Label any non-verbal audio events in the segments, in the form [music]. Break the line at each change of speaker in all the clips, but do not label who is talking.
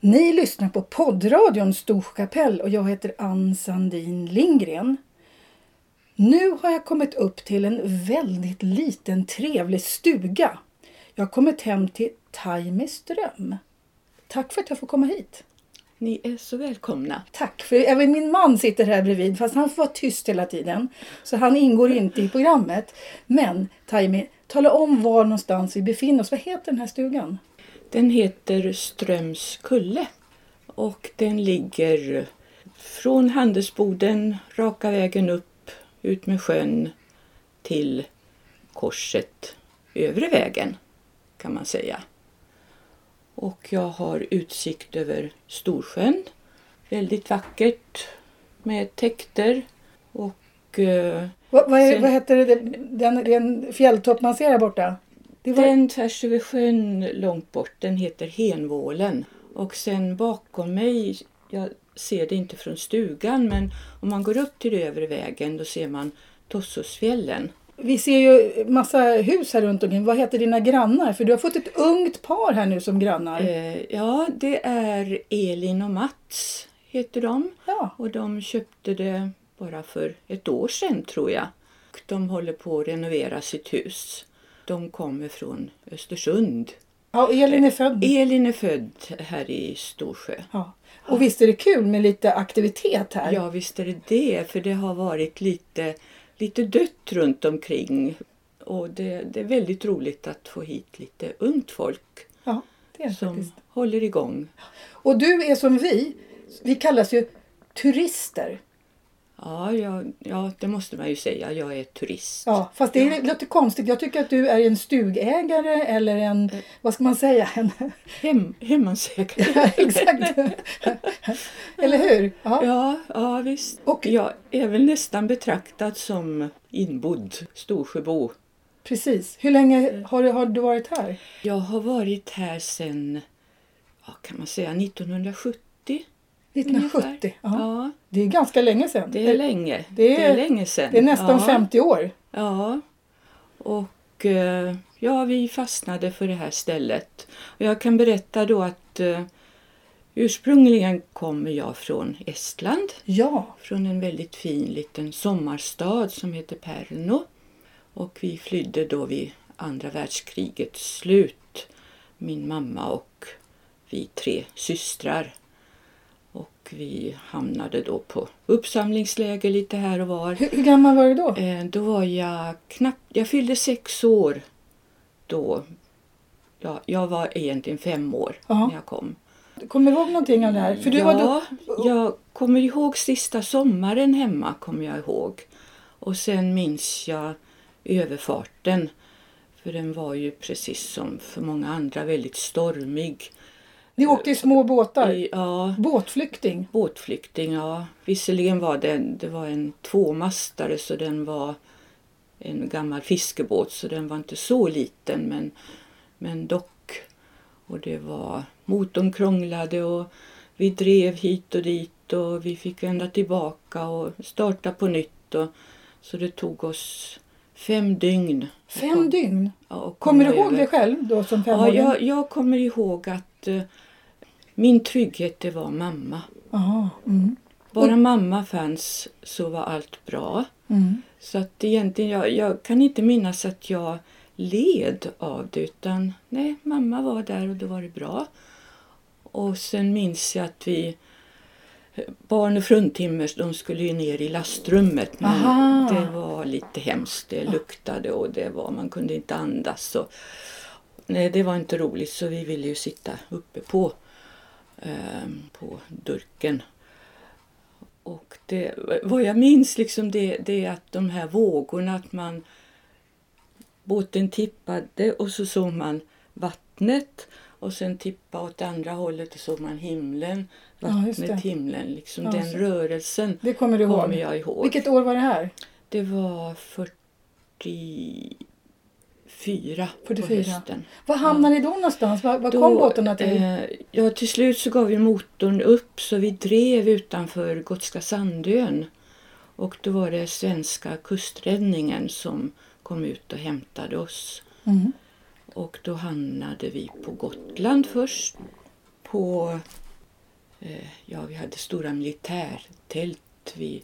Ni lyssnar på poddradion Storkapell och jag heter Ann Sandin Lindgren. Nu har jag kommit upp till en väldigt liten trevlig stuga. Jag har kommit hem till Taimeström. Tack för att jag får komma hit.
Ni är så välkomna.
Tack, för även min man sitter här bredvid fast han får vara tyst hela tiden. Så han ingår inte i programmet. Men Taimi, tala om var någonstans vi befinner oss. Vad heter den här stugan?
Den heter Strömskulle och den ligger från Handelsboden raka vägen upp ut med sjön till korset övre vägen kan man säga. Och jag har utsikt över Storsjön. Väldigt vackert med täkter och eh,
Vad, vad, är,
Sen-
vad heter det, den, den fjälltopp man ser här borta? Det var,
Den tvärs över sjön långt bort, den heter Henvålen. Och sen bakom mig, jag ser det inte från stugan, men om man går upp till övre vägen då ser man Tossosfjällen.
vi ser ju massa hus här runt omkring. Vad heter dina grannar? För du har fått ett ungt par här nu som grannar.
Eh, ja, det är Elin och Mats heter de.
Ja.
Och de köpte det bara för ett år sedan tror jag. Och de håller på att renovera sitt hus. De kommer från Östersund.
ja, och Elin är född.
Elin är född här i Storsjö.
Ja. Och visst är det kul med lite aktivitet här?
Ja, visst är det det. För det har varit lite, lite dött runt omkring. Och det, det är väldigt roligt att få hit lite ungt folk
Ja, det är det
som
faktiskt.
håller igång.
Och du är som vi. Vi kallas ju turister.
Ja, ja, ja, det måste man ju säga. Jag är turist.
Ja, fast det är, låter konstigt. Jag tycker att du är en stugägare eller en,
Eh.
vad ska man säga? [laughs] En,
Hem, hemmansägare. [laughs]
exakt. eller hur? Ja.
Ja, ja visst.
Och-
Och jag är väl nästan betraktad som inbodd Storsjöbo.
Precis. Hur
Mm.
länge har du, har du varit här?
Jag har varit här sedan, ja, kan man säga, 1970.
1970?
ungefär.
Ja.
ja,
Det är ganska länge sedan.
det är länge.
det är-
Det är, länge sedan.
Det är nästan
ja,
50 år.
Ja, och eh, ja, vi fastnade för det här stället. Och jag kan berätta då att eh, ursprungligen kommer jag från Estland.
Ja,
från en väldigt fin liten sommarstad som heter Perno. Och vi flydde då vid andra världskrigets slut, min mamma och vi tre systrar. Och vi hamnade då på uppsamlingsläger lite här och var.
hur, hur gammal var du då?
Eh, Då var jag knappt, jag fyllde sex år då. Ja, jag var egentligen fem år
Ja.
när jag kom.
Kommer du ihåg någonting av det här? För du var då,
Jag kommer ihåg sista sommaren hemma. kommer jag ihåg. Och sen minns jag överfarten. För den var ju precis som för många andra väldigt stormig.
ni åkte i små båtar.
I- Ja,
Båtflykting.
båtflykting. Ja. Visserligen var det, det var en tvåmastare så den var en gammal fiskebåt så den var inte så liten men, men dock. Och det var, motorn krånglade och vi drev hit och dit och vi fick vända tillbaka och starta på nytt. Och, så det tog oss fem dygn.
Fem dygn.
Ja, och
Kommer du
komma
ihåg
över.
det själv då som
Ja,
femåring?
jag, jag kommer ihåg att eh, min trygghet det var mamma.
Jaha, mm,
Bara mamma fanns så var allt bra.
mm.
Så att egentligen, jag, jag kan inte minnas att jag led av det utan nej, mamma var där och då var det bra. Och sen minns jag att vi Barn och fruntimmer de skulle ju ner i lastrummet men
Aha.
det var lite hemskt. Det luktade och det var, man kunde inte andas. Och, nej, det var inte roligt så vi ville ju sitta uppe på, ehm, på durken. Och det, vad jag minns liksom det, det är att de här vågorna, att man båten tippade och så såg man vattnet och sen tippade åt andra hållet och såg man himlen,
Ja, just
vattnet,
det.
himlen. Liksom
Ja,
den
så-
rörelsen
Det kommer du ihåg?
kommer jag ihåg.
Vilket år var det här?
Det var 44 på
44.
hösten.
Var hamnade ni då någonstans? Var, var kom båtarna till?
Eh, ja, till slut så gav ju motorn upp så vi drev utanför Gotska Sandön. Och då var det svenska kusträddningen som kom ut och hämtade oss.
Mm.
Och då hamnade vi på Gotland först. På eh, ja, vi hade stora militärtält vi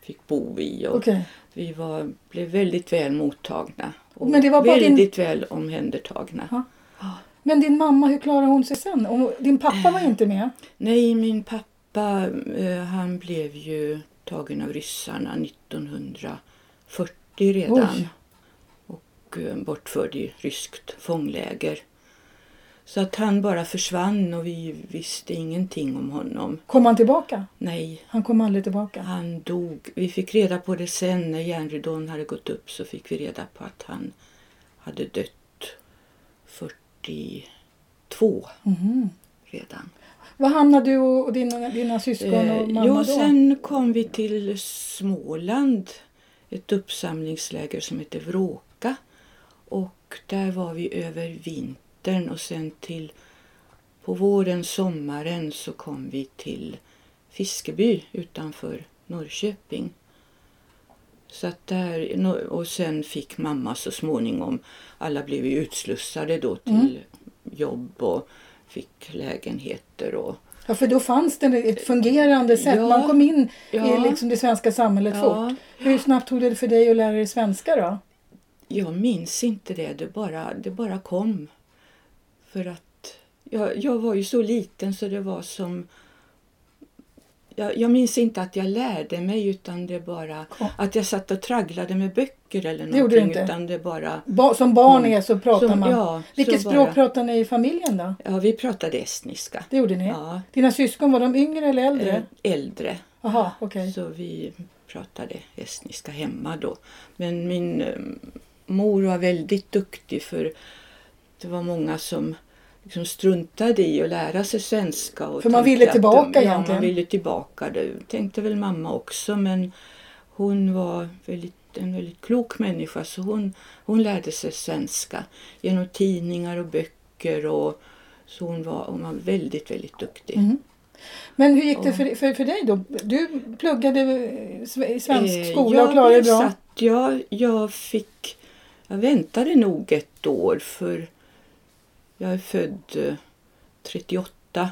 fick bo i. Och
Okej.
Vi var, blev väldigt väl mottagna och
Men det var bara din-
väldigt väl omhändertagna.
Ja. Men din mamma, hur klarar hon sig sen? Och din pappa
Eh.
var inte med?
Nej, min pappa eh, han blev ju tagen av ryssarna 1940 redan.
Oj.
Och eh, bortförd i ryskt fångläger. Så att han bara försvann och vi visste ingenting om honom.
Kom han tillbaka?
Nej,
Han kom aldrig tillbaka.
han dog. Vi fick reda på det sen när järnridån hade gått upp så fick vi reda på att han hade dött 42
Mhm.
redan.
Var hamnade du och dina, dina syskon och
Eh,
mamma
jo,
då?
sen kom vi till Småland, ett uppsamlingsläger som heter Vråka. Och där var vi över vintern och sen till på våren, sommaren så kom vi till Fiskeby utanför Norrköping. Så att där, no- och sen fick mamma så småningom, alla blev ju utslussade då till
Mm.
jobb och fick lägenheter och
Ja, för då fanns det ett fungerande sätt.
Ja.
Man kom in
Ja.
i liksom det svenska samhället
Ja.
fort. Hur snabbt tog det för dig att lära dig svenska då?
Jag minns inte det, det bara, det bara kom. För att jag, jag var ju så liten så det var som... Jag, jag minns inte att jag lärde mig utan det bara...
Kom.
Att jag satt och tragglade med böcker eller
Det gjorde du
någonting.
inte.
Utan det bara...
Ba, som barn är så pratar
Mm. Som-
man.
ja,
Vilket
så
språk
bara-
pratar ni i familjen då?
Ja, vi pratade estniska.
Det gjorde ni?
Ja,
Dina syskon, var de yngre eller
eh,
äldre?
äldre.
Jaha, okej.
Så vi pratade estniska hemma då. Men min eh, mor var väldigt duktig för det var många som liksom struntade i att lära sig svenska. Och
För man
tänkte
ville
att de-
tillbaka
ja,
egentligen.
man ville tillbaka. Det tänkte väl mamma också men hon var väldigt, en väldigt klok människa så hon, hon lärde sig svenska genom tidningar och böcker. Och, så hon var, hon var väldigt, väldigt duktig.
Mhm. Men hur gick det för, för, för dig då? Du pluggade eh, sve- svensk
Eh,
skola
jag
och klarade det
blev
bra.
Satt, jag, jag fick... Jag väntade nog ett år för jag är född eh, 38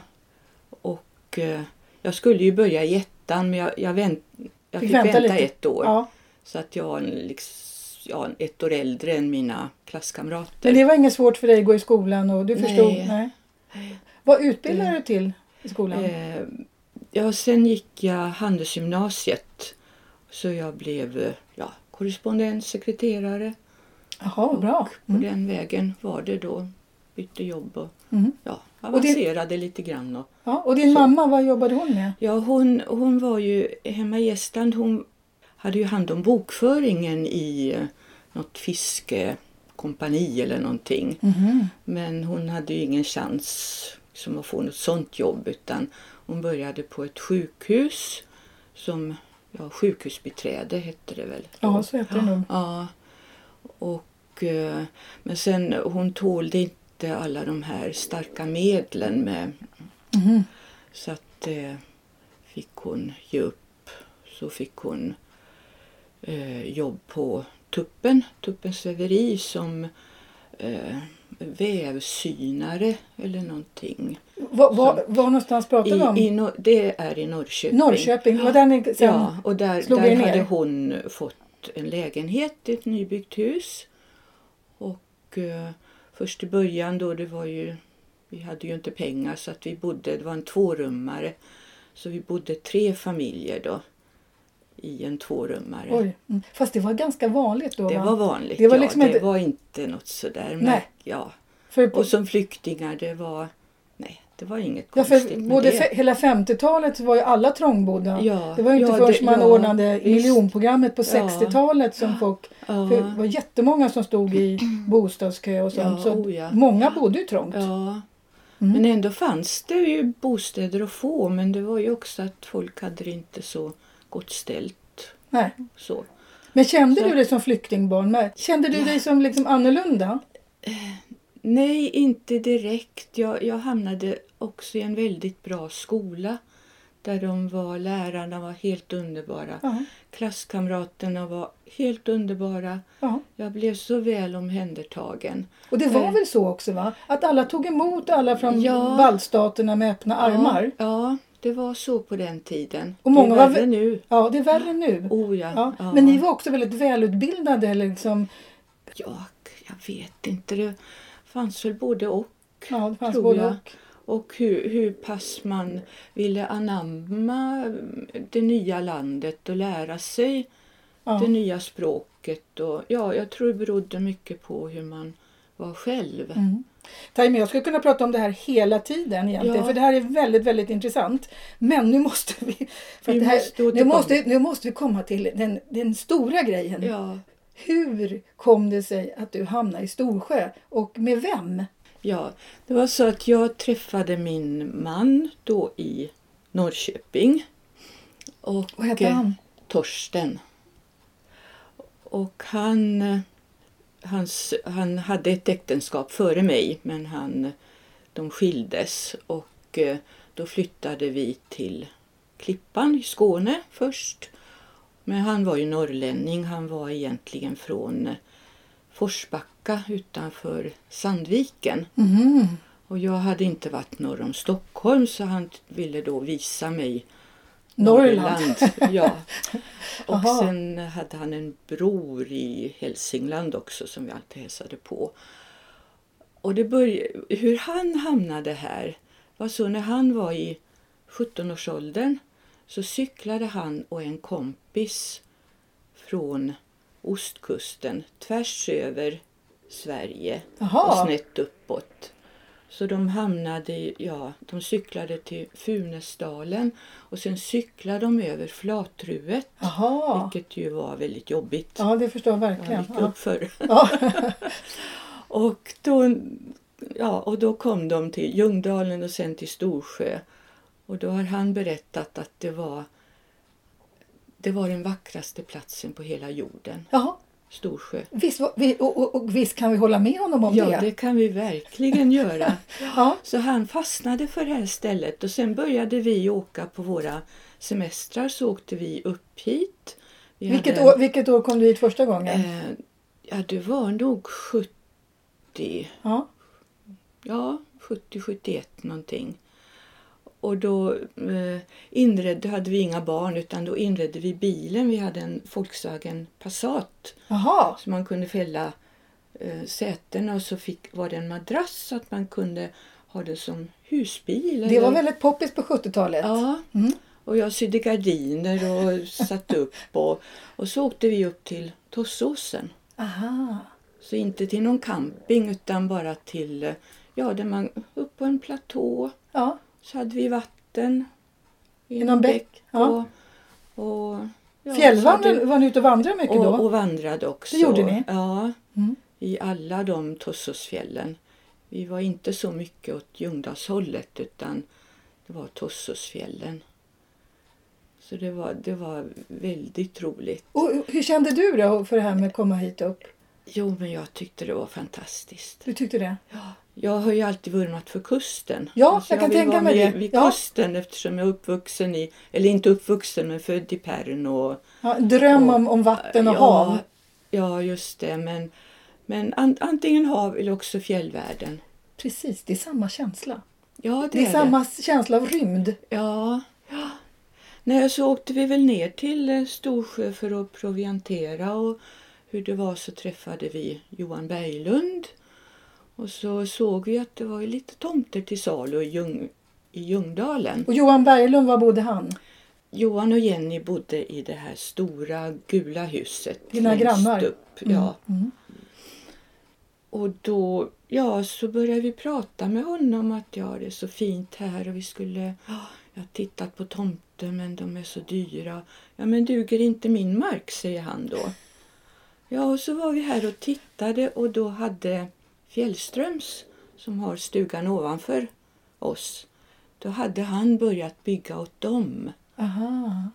och eh, jag skulle ju börja i ettan men jag, jag, vänt, jag fick, vänta, ett år.
Ja.
Så att jag var en liksom, liks- ja, ett år äldre än mina klasskamrater.
Men det var inget svårt för dig att gå i skolan och du
Nej.
förstod? Nej. Vad utbildade du till i skolan?
Eh, ja, sen gick jag Handelsgymnasiet så jag blev eh, ja, korrespondent, sekreterare
Jaha, bra.
På den vägen var det då. Bytte jobb och
Mhm.
ja,
det-
avancerade lite grann. Och,
Ja, och din
Så-
mamma, vad jobbade hon med?
ja, hon, hon var ju hemma i Estland. Hon hade ju hand om bokföringen i eh, något fiskekompani eller någonting. Men hon hade ju ingen chans liksom, att få något sånt jobb utan hon började på ett sjukhus som ja, sjukhusbiträde hette det väl. då.
Ja, så heter det nog.
Ja. Och, eh, men sen hon tålde inte alla de här starka medlen med
Mhm.
så att eh, fick hon ge upp. Så fick hon eh, jobb på Tuppen, Tuppens väveri som eh, vävsynare eller någonting.
Var, var, var någonstans
I,
pratade du om?
i, Nor- det är i Norrköping.
Norrköping, det var där ni sen...
Ja, och där,
slog
där
er ner.
hade hon fått en lägenhet i ett nybyggt hus. Och eh, först i början då, det var ju, vi hade ju inte pengar så att vi bodde, det var en tvårummare. Så vi bodde tre familjer då i en tvårummare.
Oj. Mm. Fast det var ganska vanligt då
det
va?
var vanligt,
Det var
ja,
liksom
det
inte-
var inte något sådär. Men,
Nej.
Ja.
För, på-
Och som flyktingar, det var, nej, det var inget
ja,
konstigt
för
med
både
det.
fe, hela 50-talet var ju alla trångbodda.
Ja,
det var ju inte
ja,
förrän
det-
man
ja,
ordnade
visst.
miljonprogrammet på
Ja.
60-talet som folk...
ja.
För det var jättemånga som stod
[clears throat]
i bostadskö och sånt.
Ja,
så
oh ja.
Många bodde ju trångt.
Ja.
Mm.
Men ändå fanns det ju bostäder att få men det var ju också att folk hade det inte så gott ställt.
Nej.
Så.
Men kände
Så-
du dig som flyktingbarn? Men Kände du dig som liksom annorlunda?
Nej, inte direkt. Jag, jag hamnade också i en väldigt bra skola där de var. Lärarna var helt underbara.
Ja.
Klasskamraterna var helt underbara.
ja.
Jag blev så väl omhändertagen.
Och det var
Eh.
väl så också va? Att alla tog emot alla från
Ja.
baltstaterna med öppna armar.
Ja, ja, det var så på den tiden.
Och många
det är
var
värre
vä-
nu.
Ja, det är värre nu.
Oh, ja.
Ja.
ja.
Men ni var också väldigt välutbildade. eller Liksom,
Ja, jag vet inte. Det fanns väl både och.
ja, det fanns
Tror
både
jag.
och.
Och hur, hur pass man ville anamma mm, det nya landet och lära sig
Ja.
det nya språket. Och, ja, jag tror det berodde mycket på hur man var själv.
Mm. Taimi, jag skulle kunna prata om det här hela tiden egentligen,
Ja.
för det här är väldigt, väldigt intressant. Men nu måste vi, för att
Vi
det här,
måste
nu,
återkomma.
måste, nu måste vi komma till den, den stora grejen.
Ja,
Hur kom det sig att du hamnade i Storsjö och med vem?
ja, det var så att jag träffade min man då i Norrköping. Och,
Vad hette
eh,
han?
Torsten. Och han, eh, hans, han hade ett äktenskap före mig men han, de skildes och eh, då flyttade vi till Klippan i Skåne först. Men han var ju norrlänning, han var egentligen från eh, Forsbacka utanför Sandviken. Mm-hmm.
Mhm.
Och jag hade inte varit norr om Stockholm så han t- ville då visa mig
Norrland. [laughs]
ja. Och
Aha.
sen hade han en bror i Hälsingland också som vi alltid hälsade på. Och det börj- hur han hamnade här var så när han var i 17-årsåldern så cyklade han och en kompis från ostkusten tvärs över Sverige och
Jaha,
snett uppåt. Så de hamnade, i- ja, de cyklade till Funäsdalen och sen cyklade de över Flatruet,
Jaha.
vilket ju var väldigt jobbigt.
Ja, det förstår jag
Jag
verkligen.
gick
Ja.
upp för.
Ja.
[laughs] Och då, ja, och då kom de till Ljungdalen och sen till Storsjö. Och då har han berättat att det var, det var den vackraste platsen på hela jorden,
Jaha.
Storsjö.
Visst, var- vi- och, och, och visst kan vi hålla med honom om
Ja,
det?
det kan
[laughs]
vi verkligen göra.
Ja.
Så han fastnade för det här stället och sen började vi åka på våra semestrar så åkte vi upp hit. Vi
Vilket,
hade
år, vilket år kom du hit första
en-
gången?
Eh, ja, det var nog 70,
Ja.
ja 70, 71 någonting. Och då eh, inredde, då hade vi inga barn utan då inredde vi bilen. Vi hade en Volkswagen Passat
Jaha.
så man kunde fälla eh, sätena och så fick, var det en madrass så att man kunde ha det som husbil.
Det var
eller-
väldigt poppis på 70-talet.
Ja,
Mm.
och jag sydde gardiner och satte upp och, och så åkte vi upp till Tossåsen.
Aha.
Så inte till någon camping utan bara till, eh, ja, där man, upp på en platå
Ja.
så hade vi vatten i
någon bäck, ja.
och, och ja, så
Fjällvandrade,
hade-
var ni ute och vandrade mycket
och,
då?
och vandrade också.
Det gjorde ni?
Ja,
Mm.
i alla de Tossåsfjällen. Vi var inte så mycket åt Ljungdalshållet utan det var Tossåsfjällen. Så det var, det var väldigt roligt.
Och, hur kände du då för det här med att komma hit upp?
Jo, men jag tyckte det var fantastiskt.
Du tyckte det?
Jag har ju alltid vurmat för kusten. Alltså,
Ja, jag kan
vill
tänka
vara
mig
med
det.
Vid
Ja.
kusten eftersom jag är uppvuxen i, eller inte uppvuxen men född i Pärn och
Ja, dröm om, om vatten och
ja,
hav?
Ja, just det. Men, men an, antingen hav eller också fjällvärlden.
Precis, det är samma känsla.
Ja, det,
Det är
är
samma känsla av rymd.
det. Ja. ja. Nej, så åkte vi väl ner till eh, Storsjö för att proviantera och hur det var så träffade vi Johan Berglund. Och så såg vi att det var ju lite tomter till salu i, Ljung, i Ljungdalen.
Och Johan Berglund, var bodde han?
Johan och Jenny bodde i det här stora gula huset.
Dina
längst
grannar?
Upp. Ja.
Mm.
Och då, ja, så började vi prata med honom att ja, det är så fint här och vi skulle, ja, jag har tittat på tomter men de är så dyra. Ja, men duger inte min mark, säger han då. Ja, och så var vi här och tittade och då hade Fjällströms, som har stugan ovanför oss, då hade han börjat bygga åt dem.
Aha.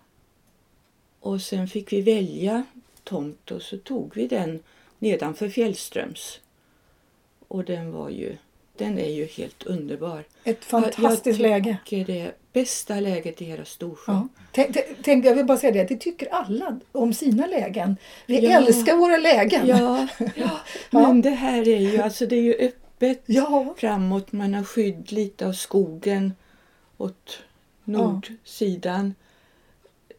Och sen fick vi välja tomt och så tog vi den nedanför Fjällströms. Och den var ju Den är ju helt underbar.
Ett fantastiskt
jag, jag
läge.
tycker Det är bästa läget i hela Storsjö.
Ja. Tänk, tänk- tänk, jag vill bara säga det, det tycker alla om sina lägen. Vi
Ja.
älskar våra lägen.
Ja, ja, [laughs] men det här är ju, alltså det är ju öppet
Ja.
framåt. Man har skydd lite av skogen åt nordsidan.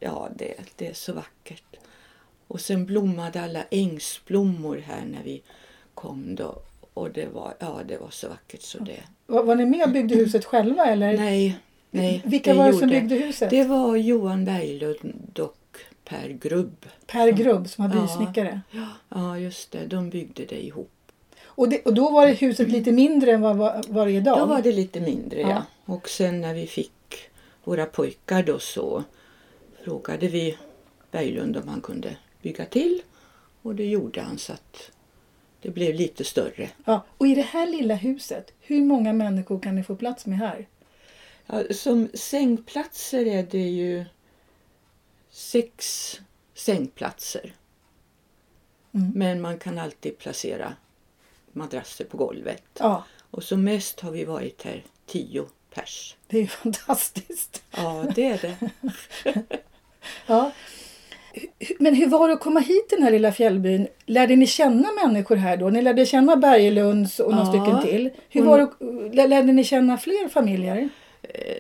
Ja, det, det är så vackert. Och sen blommade alla ängsblommor här när vi kom då. Och det var, ja, det var så vackert så det.
Var, var ni med och byggde huset själva eller?
Nej, nej.
Vilka
det
var det som
gjorde-
byggde huset?
Det var Johan Berglund och Per Grubb.
Per Grubb som var
Ja.
bysnickare.
Ja, just det. De byggde det ihop.
Och, det, och då var det huset lite mindre än vad, vad, vad det är idag?
Då var det lite mindre, ja.
Ja.
Och sen när vi fick våra pojkar då så frågade vi Berglund om han kunde bygga till. Och det gjorde han så att det blev lite större.
ja. Och i det här lilla huset, hur många människor kan ni få plats med här?
Ja, som sängplatser är det ju sex sängplatser.
Mm.
Men man kan alltid placera madrasser på golvet.
Ja,
Och som mest har vi varit här tio pers.
det är [laughs] ju fantastiskt.
Ja, det är det.
Ja. Hu- Men hur var det att komma hit till den här lilla fjällbyn? Lärde ni känna människor här då? Ni lärde känna Berglunds och några
Ja.
stycken till. Hur
Och-
var det, att- lär- lärde ni känna fler familjer?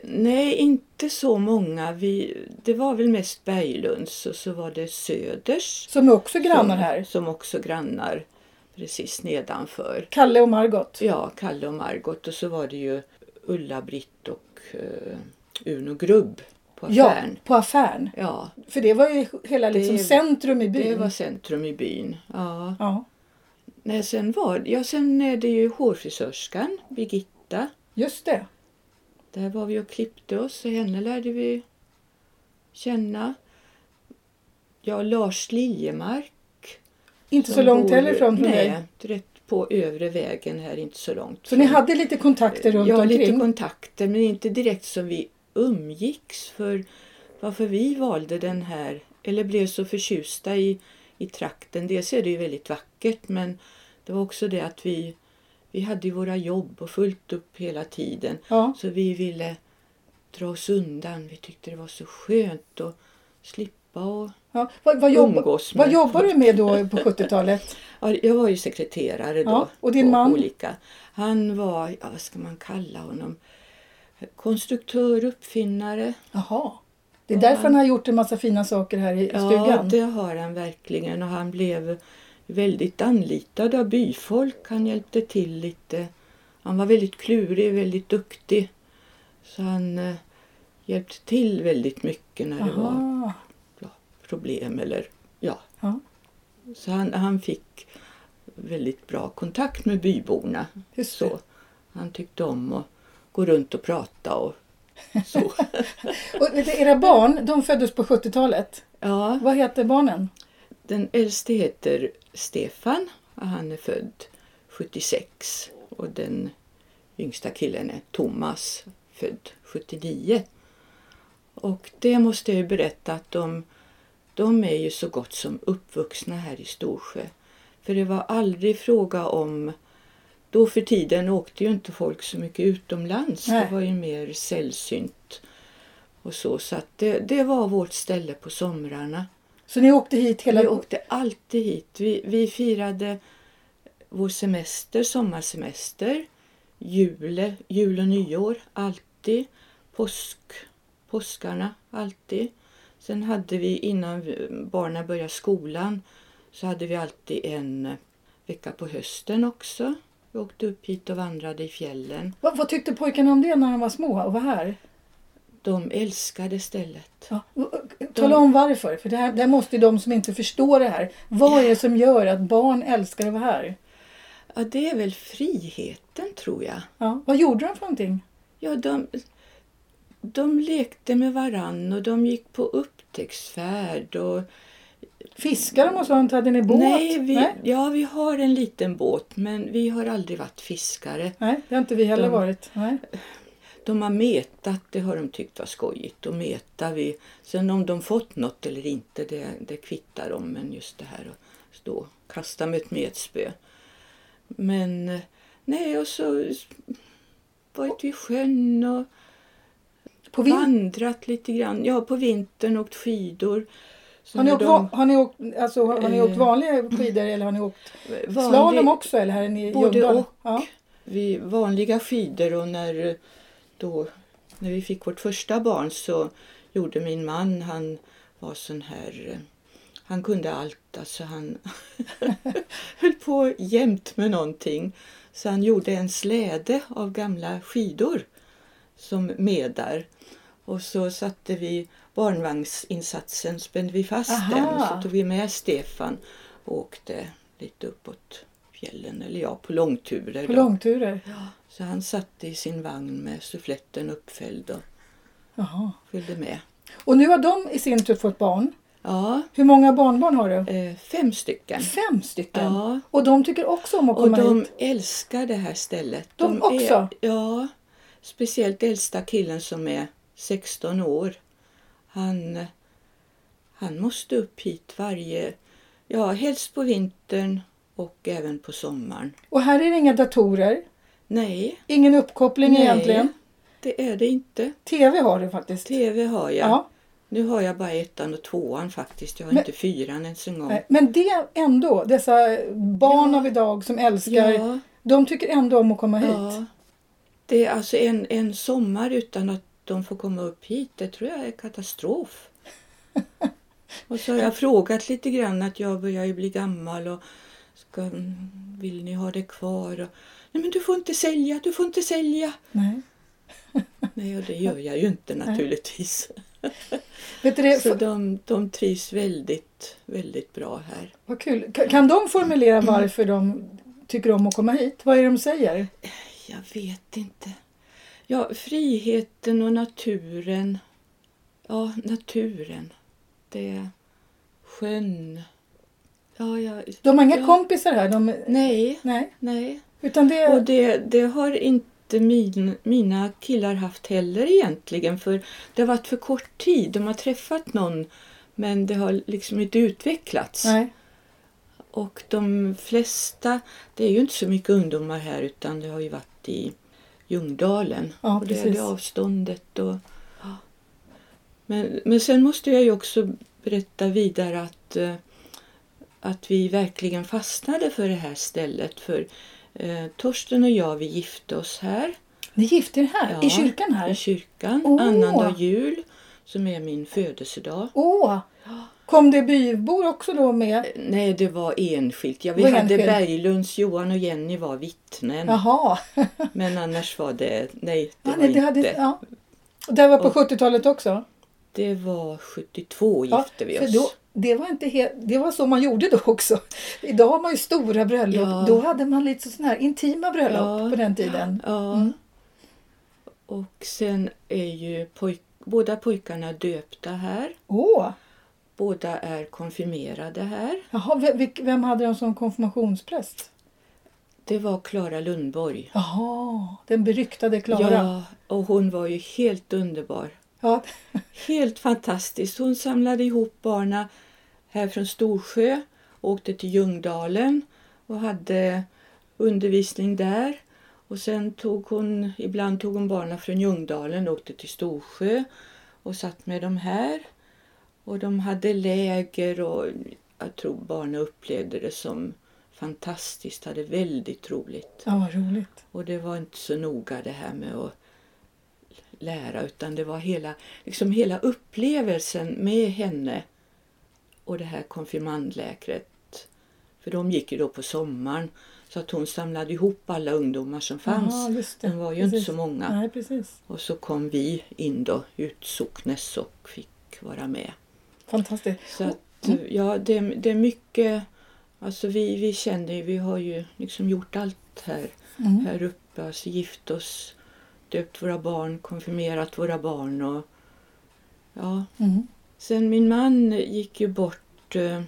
Nej, inte så många. Vi, det var väl mest Berglunds och så var det Söders.
Som är också grannar här.
Som, som också grannar precis nedanför.
Kalle och Margot.
Ja, Kalle och Margot och så var det ju Ulla-Britt och eh, Uno Grubb på affären.
Ja, på affären.
Ja.
För det var ju hela
Det-
liksom centrum i byn.
det var centrum i byn. Ja.
Ja,
Nej, sen, var, ja, sen är det ju hårfrisörskan Birgitta.
just det.
Där var vi och klippte oss och henne lärde vi känna. Ja, Lars Liljemark.
Inte så
som
långt
bor-
heller från från
Nej,
dig.
rätt på övre vägen här, inte så långt.
Så ni hade lite kontakter runt
Ja,
omkring?
lite kontakter men inte direkt som vi umgicks för varför vi valde den här eller blev så förtjusta i, i trakten. Dels är det ju väldigt vackert men det var också det att vi, vi hade ju våra jobb och fullt upp hela tiden.
ja.
Så vi ville dra oss undan. Vi tyckte det var så skönt att slippa och
Ja. Vad, vad, jobb,
umgås med
vad jobbar du med då på
[laughs]
70-talet?
Ja, Jag var ju sekreterare då.
Ja, och din
på
man?
Olika. Han var, ja, vad ska man kalla honom? Konstruktör, uppfinnare.
Jaha. Det är därför han har gjort en massa fina saker här i
Ja,
stugan.
det har han verkligen. Och han blev väldigt anlitad av byfolk. Han hjälpte till lite. Han var väldigt klurig, väldigt duktig. Så han eh, hjälpte till väldigt mycket när det var
Aha.
problem eller ja.
Ja.
Så han, han fick väldigt bra kontakt med byborna.
Just det.
Så han tyckte om att gå runt och prata och
[laughs]
så.
Och vet du, era barn, de föddes på 70-talet.
ja,
Vad heter barnen?
den äldste heter Stefan och han är född 76 och den yngsta killen är Thomas född 79. Och det måste jag ju berätta att de, de är ju så gott som uppvuxna här i Storsjö. För det var aldrig fråga om då för tiden åkte ju inte folk så mycket utomlands.
Nej.
Det var ju mer sällsynt. Och så så att det, det var vårt ställe på somrarna.
Så ni åkte hit hela...
Vi åkte alltid hit. Vi, vi firade vår semester, sommarsemester, jule, jul och nyår, alltid. Påsk, påskarna, alltid. Sen hade vi innan vi- barnen började skolan så hade vi alltid en eh, vecka på hösten också. Vi åkte upp hit och vandrade i fjällen.
Vad, vad tyckte pojkarna om det när de var små och var här?
De älskade stället.
Ja. och- och- Tala om varför, för det här, det här måste ju de som inte förstår det här. Vad är det som gör att barn älskar att vara här?
Ja, det är väl friheten tror jag.
Ja. Vad gjorde de för någonting?
Ja, de, de lekte med varann och de gick på upptäcktsfärd. Och,
Fiskade de och sånt? Hade ni båt?
Nej, vi,
Nej?
Ja, vi har en liten båt men vi har aldrig varit fiskare.
Nej, det har inte vi heller
De-
varit. Nej.
De har metat, det har de tyckt var skojigt. Och meta vi. Sen om de fått något eller inte, det, det kvittar de. Men just det här att stå och kasta med ett metspö. Men eh, Nej, och så var ute i sjön och
På vin-
vandrat lite grann. Ja, på vintern åkt skidor. Så
har, ni
när
åkt,
de-
va- har, ni åkt, alltså, har ni
Eh.
åkt vanliga skidor eller har ni åkt
vanlig-
slalom också? Eller här är ni i
Både
Ljungdal?
och.
Ja.
vi vanliga skidor och när, eh, då, när vi fick vårt första barn så gjorde min man, han var sån här, eh, han kunde allt, alltså han [laughs] höll på jämt med någonting. Så han gjorde en släde av gamla skidor som medar. Och så satte vi barnvagnsinsatsen, spände vi fast den och
Aha.
så tog vi med Stefan och åkte lite uppåt fjällen, eller ja, på långturer.
På
då.
långturer?
Så han satt i sin vagn med suffletten uppfälld och
Jaha.
följde med.
Och nu har de i sin tur fått barn.
Ja,
Hur många barnbarn har du?
eh, fem stycken.
Fem stycken.
Ja.
Och de tycker också om att
Och
komma
de
hit.
älskar det här stället.
De
Är,
också?
ja, speciellt äldsta killen som är 16 år. Han, han måste upp hit varje, ja helst på vintern och även på sommaren.
Och här är det inga datorer,
Nej,
ingen uppkoppling
Nej.
egentligen.
det är det inte.
TV har du faktiskt.
TV har jag.
Ja.
Nu har jag bara ettan och tvåan faktiskt. Jag har
Men-
inte fyran ens en gång.
Nej, Men det ändå, dessa barn av idag som älskar,
Ja,
de tycker ändå om att komma hit.
ja. Det är alltså en, en sommar utan att de får komma upp hit. Det tror jag är katastrof.
[laughs]
och så har jag frågat lite grann att jag börjar ju bli gammal och ska, mm, vill ni ha det kvar? Och, Nej men du får inte sälja, du får
[laughs]
inte sälja.
Nej.
Nej och det gör jag ju inte naturligtvis.
Vet du det,
Så de, de trivs väldigt, väldigt bra här.
vad kul. Ka- Kan de formulera varför de tycker om att komma hit? Vad är det de säger?
Jag vet inte. Ja, friheten och naturen. Ja, naturen. Det är sjön. Ja, jag...
De har inga
Ja.
kompisar här. De,
Nej,
nej,
nej.
utan det
Och det, det har inte min, mina killar haft heller egentligen för det har varit för kort tid. De har träffat någon men det har liksom inte utvecklats.
Nej.
Och de flesta, det är ju inte så mycket ungdomar här utan det har ju varit i Ljungdalen.
Ja,
och det är
precis.
det avståndet. Och, ja. men, men sen måste jag ju också berätta vidare att, eh, att vi verkligen fastnade för det här stället. För eh, Torsten och jag, vi gifte oss här
Ni gifte er här,
Ja.
i kyrkan
i
här.
kyrkan,
Åh.
annandag jul, som är min födelsedag.
Åh! Kom det bybor också då med?
Nej, det var enskilt. Ja, vi
Var
hade
enskilt?
Berglunds, Johan och Jenny var vittnen.
Jaha.
Men annars var det, nej
Ja,
det var
nej, det, hade,
inte.
ja. Och det här var på
Och-
70-talet också?
Det var 72
Ja,
gifte vi
för
oss.
Då, det, var inte helt, det var så man gjorde då också. Idag har man ju stora bröllop.
Ja.
Då hade man lite sådana här intima bröllop
Ja.
på den tiden.
Ja.
Mm.
Och sen är ju poj- båda pojkarna döpta här.
Åh!
Båda är konfirmerade här.
Jaha, ve- vilk- vem hade de som konfirmationspräst?
Det var Klara Lundborg.
Jaha, den beryktade Klara. Ja.
Ja, och hon var ju helt underbar.
Ja. [laughs]
Helt fantastiskt. Hon samlade ihop barna här från Storsjö, åkte till Ljungdalen och hade undervisning där. Och sen tog hon, ibland tog hon barna från Ljungdalen och åkte till Storsjö och satt med dem här. Och de hade läger och jag tror barnen upplevde det som fantastiskt, hade väldigt roligt.
vad roligt.
Och det var inte så noga det här med att lära utan det var hela, liksom hela upplevelsen med henne och det här konfirmandläkret. För de gick ju då på sommaren så att hon samlade ihop alla ungdomar som fanns.
Jaha, just det.
Den var ju
precis.
inte så många.
Nej, precis.
Och så kom vi in då, utsocknes och fick vara med.
Fantastiskt.
Så att, eh, ja, det, det är mycket, alltså vi, vi känner ju, vi har ju liksom gjort allt här
Mm.
här uppe, alltså gift oss, döpt våra barn, konfirmerat våra barn och ja.
Mm.
Sen min man gick ju bort eh,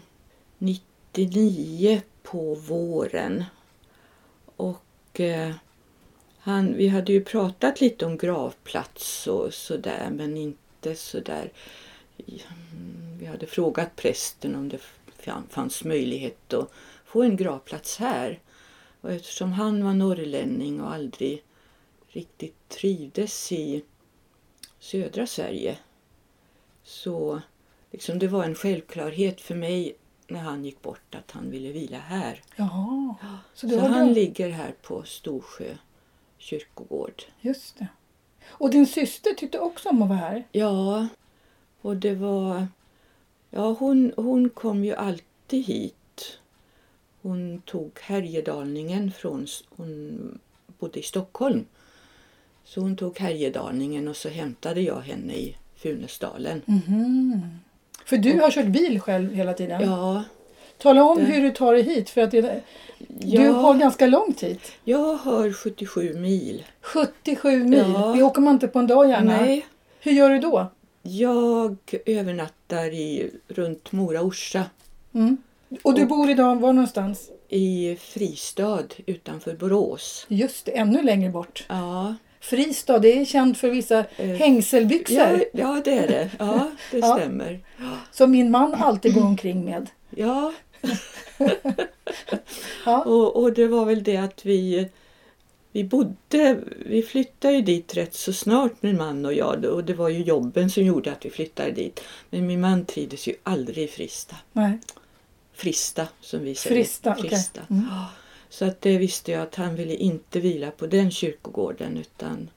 99 på våren och eh, han, vi hade ju pratat lite om gravplats och sådär men inte sådär. Mm, Vi hade frågat prästen om det f- fanns möjlighet att få en gravplats här. Och eftersom han var norrlänning och aldrig riktigt trivdes i södra Sverige så liksom det var en självklarhet för mig när han gick bort att han ville vila här.
Jaha. Så,
Så
du har
han
den-
ligger här på Storsjö kyrkogård.
Just det. Och din syster tyckte också om att vara här.
Ja, och det var... Ja, hon, hon kom ju alltid hit. Hon tog Härjedalningen från... s- Hon bodde i Stockholm. Så hon tog Härjedalningen och så hämtade jag henne i Funäsdalen.
Mhm. För du har kört bil själv hela tiden.
Ja,
Tala om
Det-
hur du tar dig hit för att det, du
jag-
har ganska långt hit.
jag har 77 mil.
77 mil.
Ja.
Det åker man inte på en dag gärna.
Nej,
Hur gör du då?
jag övernattar i, runt Mora-Orsa
Mm. Och du
Och-
bor idag var någonstans?
i Fristad utanför Borås.
Just det, ännu längre bort.
Ja,
Fristad, det är känt för vissa
Eh,
hängselbyxor
Ja, ja, det är det. Ja, det
Ja.
stämmer.
som min man alltid går omkring med.
Ja,
Ja.
och, och det var väl det att vi, vi bodde, vi flyttade ju dit rätt så snart min man och jag och det var ju jobben som gjorde att vi flyttade dit. Men min man trivdes ju aldrig i Frista.
Nej.
Frista som vi säger.
Frista, okej. Mm.
Ja, Så att det visste jag att han ville inte vila på den kyrkogården utan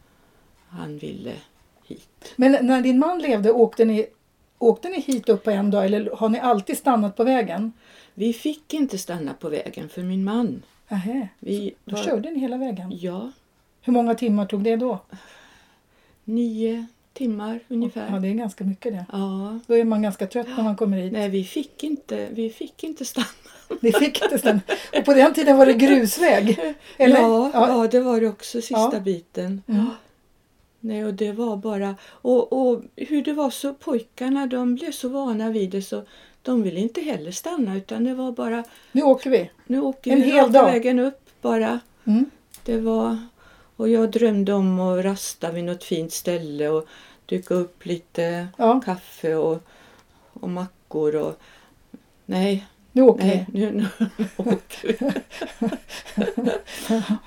han ville hit.
Men när din man levde, åkte ni, åkte ni hit upp på en dag eller har ni alltid stannat på vägen?
Vi fick inte stanna på vägen för min man.
Aha.
Vi
Då körde ni hela vägen.
Ja,
Hur många timmar tog det då?
nio timmar ungefär.
Ja, det är ganska mycket det.
Ja.
Då är man ganska trött när man kommer hit.
Nej, vi fick inte, vi fick inte stanna.
Ni fick inte stanna. Och på den tiden var det
[laughs]
grusväg. Eller?
Ja,
ja.
ja. det var det också sista
Ja.
biten.
Mm.
Nej, och det var bara... Och, och hur det var så pojkarna, de blev så vana vid det så de ville inte heller stanna utan det var bara...
Nu åker vi.
Nu åker
En
vi
hel
raka
dag.
vägen upp bara.
Mm.
Det var... Och jag drömde om att rasta vid något fint ställe och dyka upp lite
Ja,
kaffe och, och mackor och... Nej,
nu åker
Nej, nu, nu
[laughs]
åker vi. [laughs]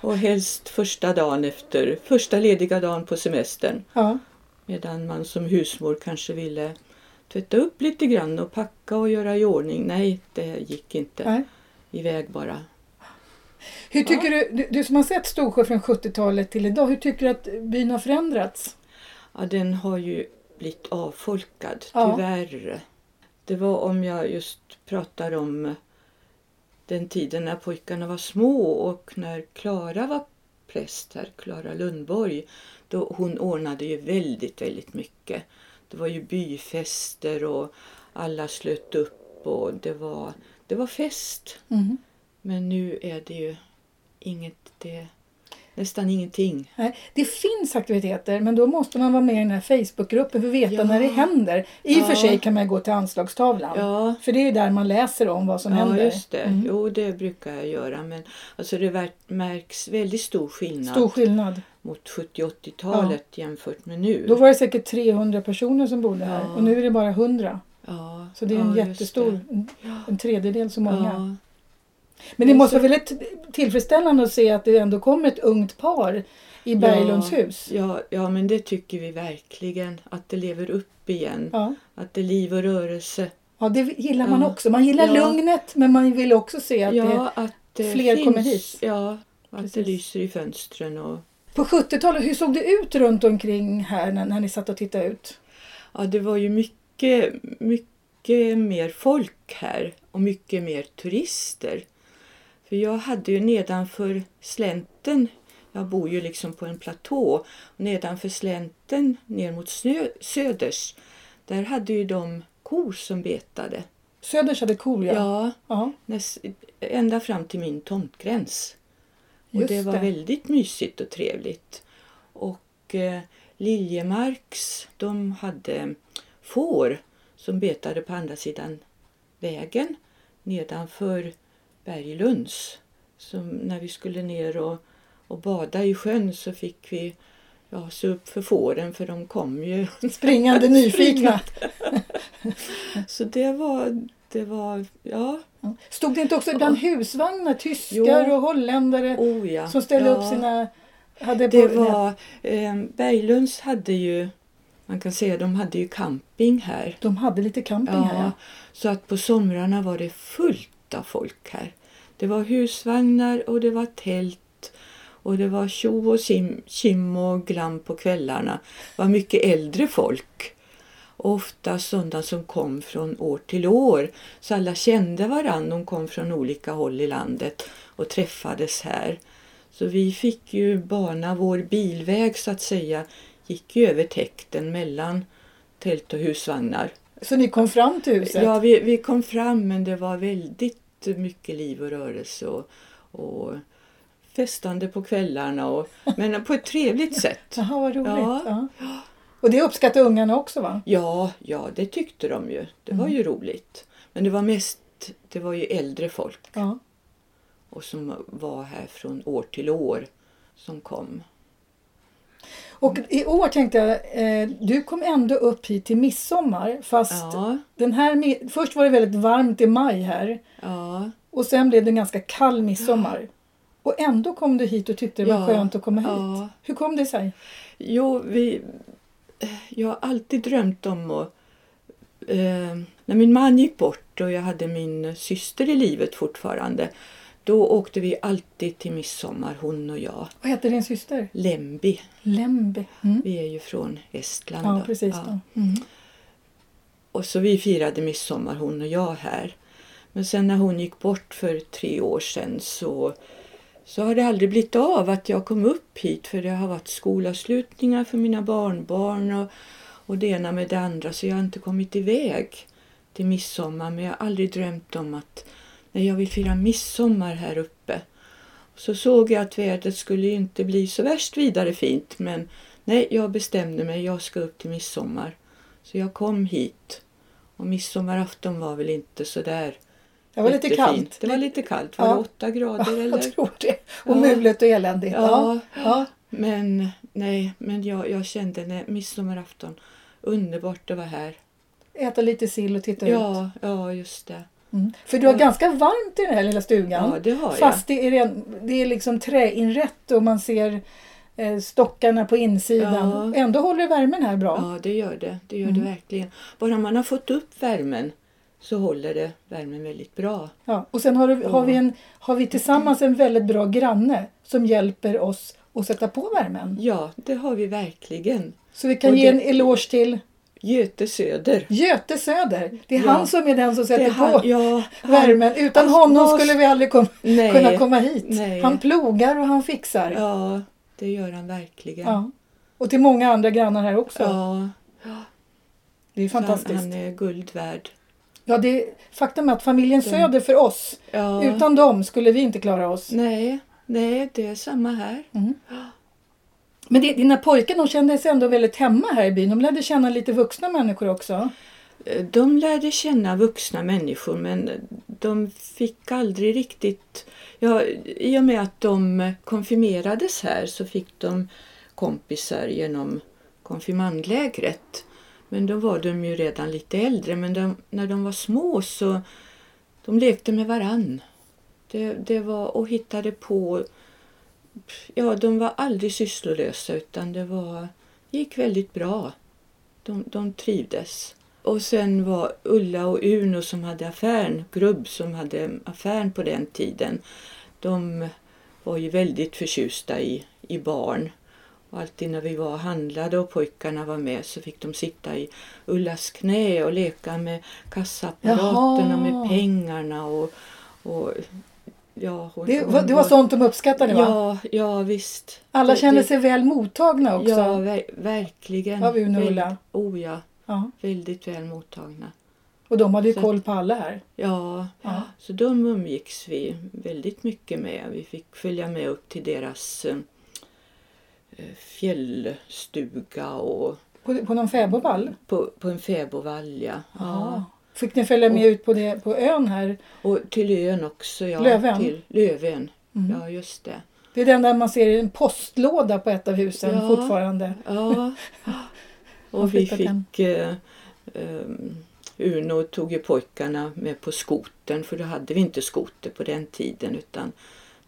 och helst första dagen efter, första lediga dagen på semestern.
vi. Ja.
Medan man som husmor kanske ville tvätta upp lite grann och packa och göra i ordning. Nej, det gick inte.
Nej.
Iväg bara.
Hur tycker du, du, du som har sett Storsjö från 70-talet till idag, hur tycker du att byn har förändrats?
Ja, den har ju blivit avfolkad,
Ja.
tyvärr. Det var om jag just pratar om eh, den tiden när pojkarna var små och när Klara var präst här, Klara Lundborg, då hon ordnade ju väldigt, väldigt mycket. Det var ju byfester och alla slöt upp och det var, det var fest.
Mm.
Men nu är det ju inget, det, nästan ingenting.
Nej, det finns aktiviteter men då måste man vara med i den här Facebookgruppen för att veta
Ja.
när det händer. I och för
Ja.
sig kan man gå till anslagstavlan.
Ja,
För det är ju där man läser om vad som händer.
Ja, just det.
Mm.
Jo, det brukar jag göra. Men alltså, det ver- märks väldigt stor skillnad
Stor skillnad.
mot 70 80-talet jämfört med nu.
Då var det säkert 300 personer som bodde här
Ja.
och nu är det bara 100.
ja,
Så det är en
ja, just
jättestor,
det.
en- en tredjedel så många.
Ja,
Men det
Men
måste
så-
vara väldigt tillfredsställande att se att det ändå kommer ett ungt par i Berglunds hus.
ja, ja, men det tycker vi verkligen. Att det lever upp igen.
Ja.
Att det är liv och rörelse.
ja, det gillar man
Ja.
också. Man gillar
Ja.
lugnet men man vill också se att det
ja, att det
fler
finns,
kommer hit.
Ja, att det
Precis.
lyser i fönstren. Och,
På 70-talet, hur såg det ut runt omkring här när, när ni satt och tittade ut?
ja, det var ju mycket, mycket mer folk här och mycket mer turister. För jag hade ju nedanför slänten, jag bor ju liksom på en platå, och nedanför slänten ner mot snö, söders, där hade ju de kor som betade.
Söders hade kor, ja.
Ja,
Ja,
näs, ända fram till min tomtgräns. Och
just
det var
det.
väldigt mysigt och trevligt. Och eh, Liljemarks, de hade får som betade på andra sidan vägen nedanför Berglunds. Så när vi skulle ner och, och bada i sjön så fick vi ja, se upp för fåren
[laughs]
för de kom ju. [laughs]
Springande nyfikna.
Så det var, det var, ja.
Stod det inte också bland husvagnar tyskar
Jo.
och holländare
Oh ja.
som ställde
ja.
upp sina... Hade
Det
på-
var, eh, Berglunds hade ju, man kan säga de hade ju camping här.
De hade lite camping här.
Ja,
ja.
så att på somrarna var det fullt av folk här. Det var husvagnar och det var tält och det var tjo och sim, kim och glam på kvällarna. Det var mycket äldre folk. Ofta sådana som kom från år till år. Så alla kände varandra. De kom från olika håll i landet och träffades här. Så vi fick ju bana vår bilväg så att säga. Gick ju över täkten mellan tält och husvagnar.
Så ni kom fram till huset?
Ja, vi, vi kom fram men det var väldigt mycket liv och rörelse och, och festande på kvällarna. Och, men på ett trevligt sätt.
Jaha, vad roligt.
Ja.
Ja. Och det uppskattar ungarna också va?
Ja, ja, det tyckte de ju. Det var
Mm.
ju roligt. Men det var mest det var ju äldre folk
Ja.
och som var här från år till år som kom.
Och i år tänkte jag, eh, du kom ändå upp hit till midsommar fast
Ja,
den här, mi- först var det väldigt varmt i maj här
ja.
och sen blev det en ganska kall midsommar. Och ändå kom du hit och tyckte det var
Ja.
skönt att komma hit.
Ja.
Hur kom det sig?
Jo, vi, eh, jag har alltid drömt om att... Eh, när min man gick bort och jag hade min syster i livet fortfarande då åkte vi alltid till midsommar, hon och jag.
Vad heter din syster?
Lembi,
Lembi. Mm.
vi är ju från Estland.
Ja,
då.
precis.
Ja.
Då. Mm.
Och så vi firade midsommar hon och jag här. Men sen när hon gick bort för tre år sedan så, så har det aldrig blivit av att jag kom upp hit för det har varit skolavslutningar för mina barnbarn och, och det ena med det andra så jag har inte kommit iväg till midsommar men jag har aldrig drömt om att nej, jag vill fira midsommar här uppe. Så såg jag att vädret skulle ju inte bli så värst vidare fint men nej, jag bestämde mig, jag ska upp till midsommar. Så jag kom hit och midsommarafton var väl inte så där
Det var lite
jättefint.
kallt.
Det var lite kallt. Var
Ja.
det åtta grader
[laughs] Jag
eller?
tror det. Och
Ja.
mulet och eländigt.
Ja.
Ja.
Men nej, men jag, jag kände nej, midsommarafton, underbart att vara här.
Äta lite sill och titta ut.
Ja, ja just det.
Mm. För du har ganska varmt i den här lilla stugan.
Ja, det har jag.
Fast det är, ren- det är liksom träinrätt och man ser eh, stockarna på insidan.
Ja.
Ändå håller värmen här bra.
Ja, det gör det. Det gör
Mm.
det verkligen. Bara man har fått upp värmen så håller det värmen väldigt bra.
Ja. Och sen har, du, har, vi en, har vi tillsammans en väldigt bra granne som hjälper oss att sätta på värmen.
Ja, det har vi verkligen.
Så vi kan
Och
ge
det-
en eloge till
Göte Söder.
Göte Söder. Det är
Ja.
han som är den som sätter
Det är han-
på
ja, han-
värmen. Utan
Alltså,
honom
vad-
skulle vi aldrig kom,
Nej.
kunna komma hit.
Nej.
Han plogar och han fixar.
Ja, det gör han verkligen.
Ja. Och till många andra grannar här också.
Ja,
Det är
så
fantastiskt.
Han, han är guld värd.
Ja, det, faktum är att familjen Söder för oss,
Ja.
utan dem skulle vi inte klara oss.
Nej, nej, det är samma här.
Men det, dina pojkar de kände sig ändå väldigt hemma här i byn. De lärde känna lite vuxna människor också.
De lärde känna vuxna människor men de fick aldrig riktigt... Ja, I och med att de konfirmerades här så fick de kompisar genom konfirmandlägret. Men då var de ju redan lite äldre men de, när de var små så de lekte med varann. Det, det var och hittade på... Ja, de var aldrig sysslolösa utan det var, gick väldigt bra. De, de trivdes. Och sen var Ulla och Uno som hade affären, Grubb som hade affären på den tiden, de var ju väldigt förtjusta i, i barn. Och alltid när vi var och handlade och pojkarna var med så fick de sitta i Ullas knä och leka med kassaapparaten och
Jaha.
med pengarna. Och, och, ja, hon,
Det,
hon
var- det var sånt de uppskattade va?
Ja, ja visst.
Alla
Det-
kände
det-
sig väl mottagna också.
Ja, ver- verkligen.
Av Uno och
Väl-
Ulla.
Oh ja,
Ja.
väldigt väl mottagna.
Och de hade ju
Så-
koll på alla här.
Ja,
Ja.
så de umgicks vi väldigt mycket med. Vi fick följa med upp till deras eh, eh, fjällstuga och
På, på någon fäbodvall.
på, på en fäbodvall. Ja.
Jaha.
Ja.
Fick ni följa med ut på, det, på ön här?
Och till ön också. Ja,
Lövön?
Till Lövön. Ja, just det.
Mm. Det är den där man ser en postlåda på ett av husen
Ja.
fortfarande.
Ja.
Har
Och vi
flyttat hem.
fick eh, ehm, Uno tog ju pojkarna med på skoten för då hade vi inte skoter på den tiden utan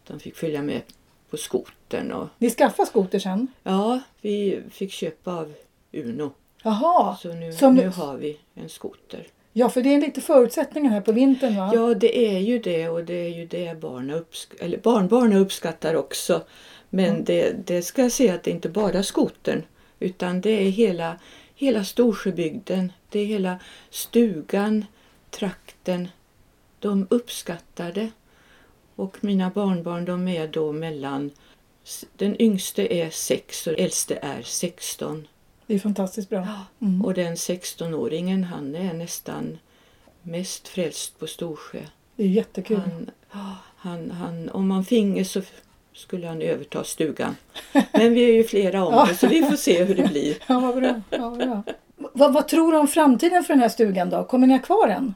de fick följa med på skoten. Och,
Ni skaffade skoter sen?
ja, vi fick köpa av Uno.
Jaha,
Så nu,
Som-
nu har vi en skoter.
ja för det är lite förutsättningar här på vintern va?
Ja, det är ju det och det är ju det barna uppsk- eller barnbarnen uppskattar också. Men det, det ska jag säga att det är inte bara skotern utan det är hela, hela Storsjöbygden, det är hela stugan, trakten. De uppskattar det. Och mina barnbarn de är då mellan, den yngste är 6 och äldste är 16.
Det är fantastiskt bra. Mm.
Och den 16-åringen han är nästan mest frälst på Storsjö.
Det är jättekul.
Han, ja, han, han, om han finge så f- skulle han
[laughs]
överta stugan. Men vi är ju flera om det så vi får se hur det blir.
Ja, vad bra. Ja, vad, bra. vad, vad tror du om framtiden för den här stugan då? Kommer ni ha kvar den?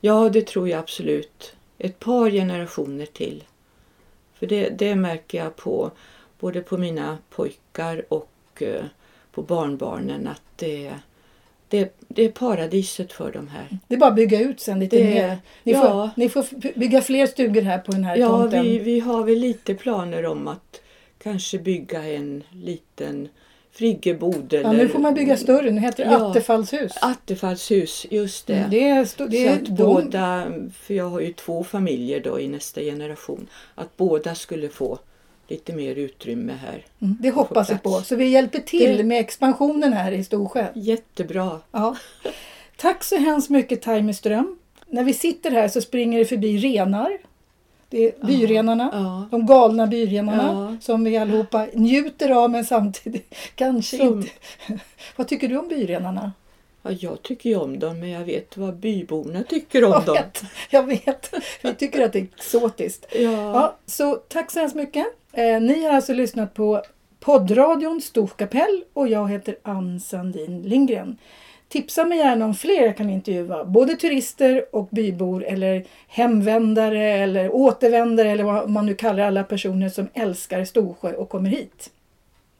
Ja, det tror jag absolut. Ett par generationer till. För det, det märker jag på både på mina pojkar och eh, på barnbarnen att det, det, det är paradiset för dem här.
Det är bara att bygga ut sen lite
Det-
mer. Ni,
ja.
får, ni får bygga fler stugor här på den här
Ja,
tomten.
vi, vi har väl lite planer om att kanske bygga en liten friggebod.
ja, nu får man bygga större. Nu heter det
Ja.
Attefallshus.
Attefallshus, just det.
Mm, Det är, sto- det är
så
de-
att båda, för jag har ju två familjer då i nästa generation, att båda skulle få lite mer utrymme här.
Mm, Det hoppas vi på.
plats.
Så vi hjälper till
Det-
med expansionen här i Storsjö.
Jättebra!
Ja. Tack så hemskt mycket Taimeström. När vi sitter här så springer det förbi renar. Det är byrenarna.
Ja.
De galna byrenarna
Ja.
som vi allihopa njuter av men samtidigt [laughs] kanske
Som-
inte. [laughs] Vad tycker du om byrenarna?
ja, jag tycker ju om dem men jag vet vad byborna
[laughs]
tycker om
Jag
dem.
vet, jag vet. Vi tycker att det är exotiskt.
Ja.
Ja, så tack så hemskt mycket. Eh, ni har alltså lyssnat på poddradion Storkapell och jag heter Ann Sandin Lindgren. Tipsa mig gärna om fler jag kan intervjua, både turister och bybor eller hemvändare eller återvändare eller vad man nu kallar alla personer som älskar Storsjö och kommer hit.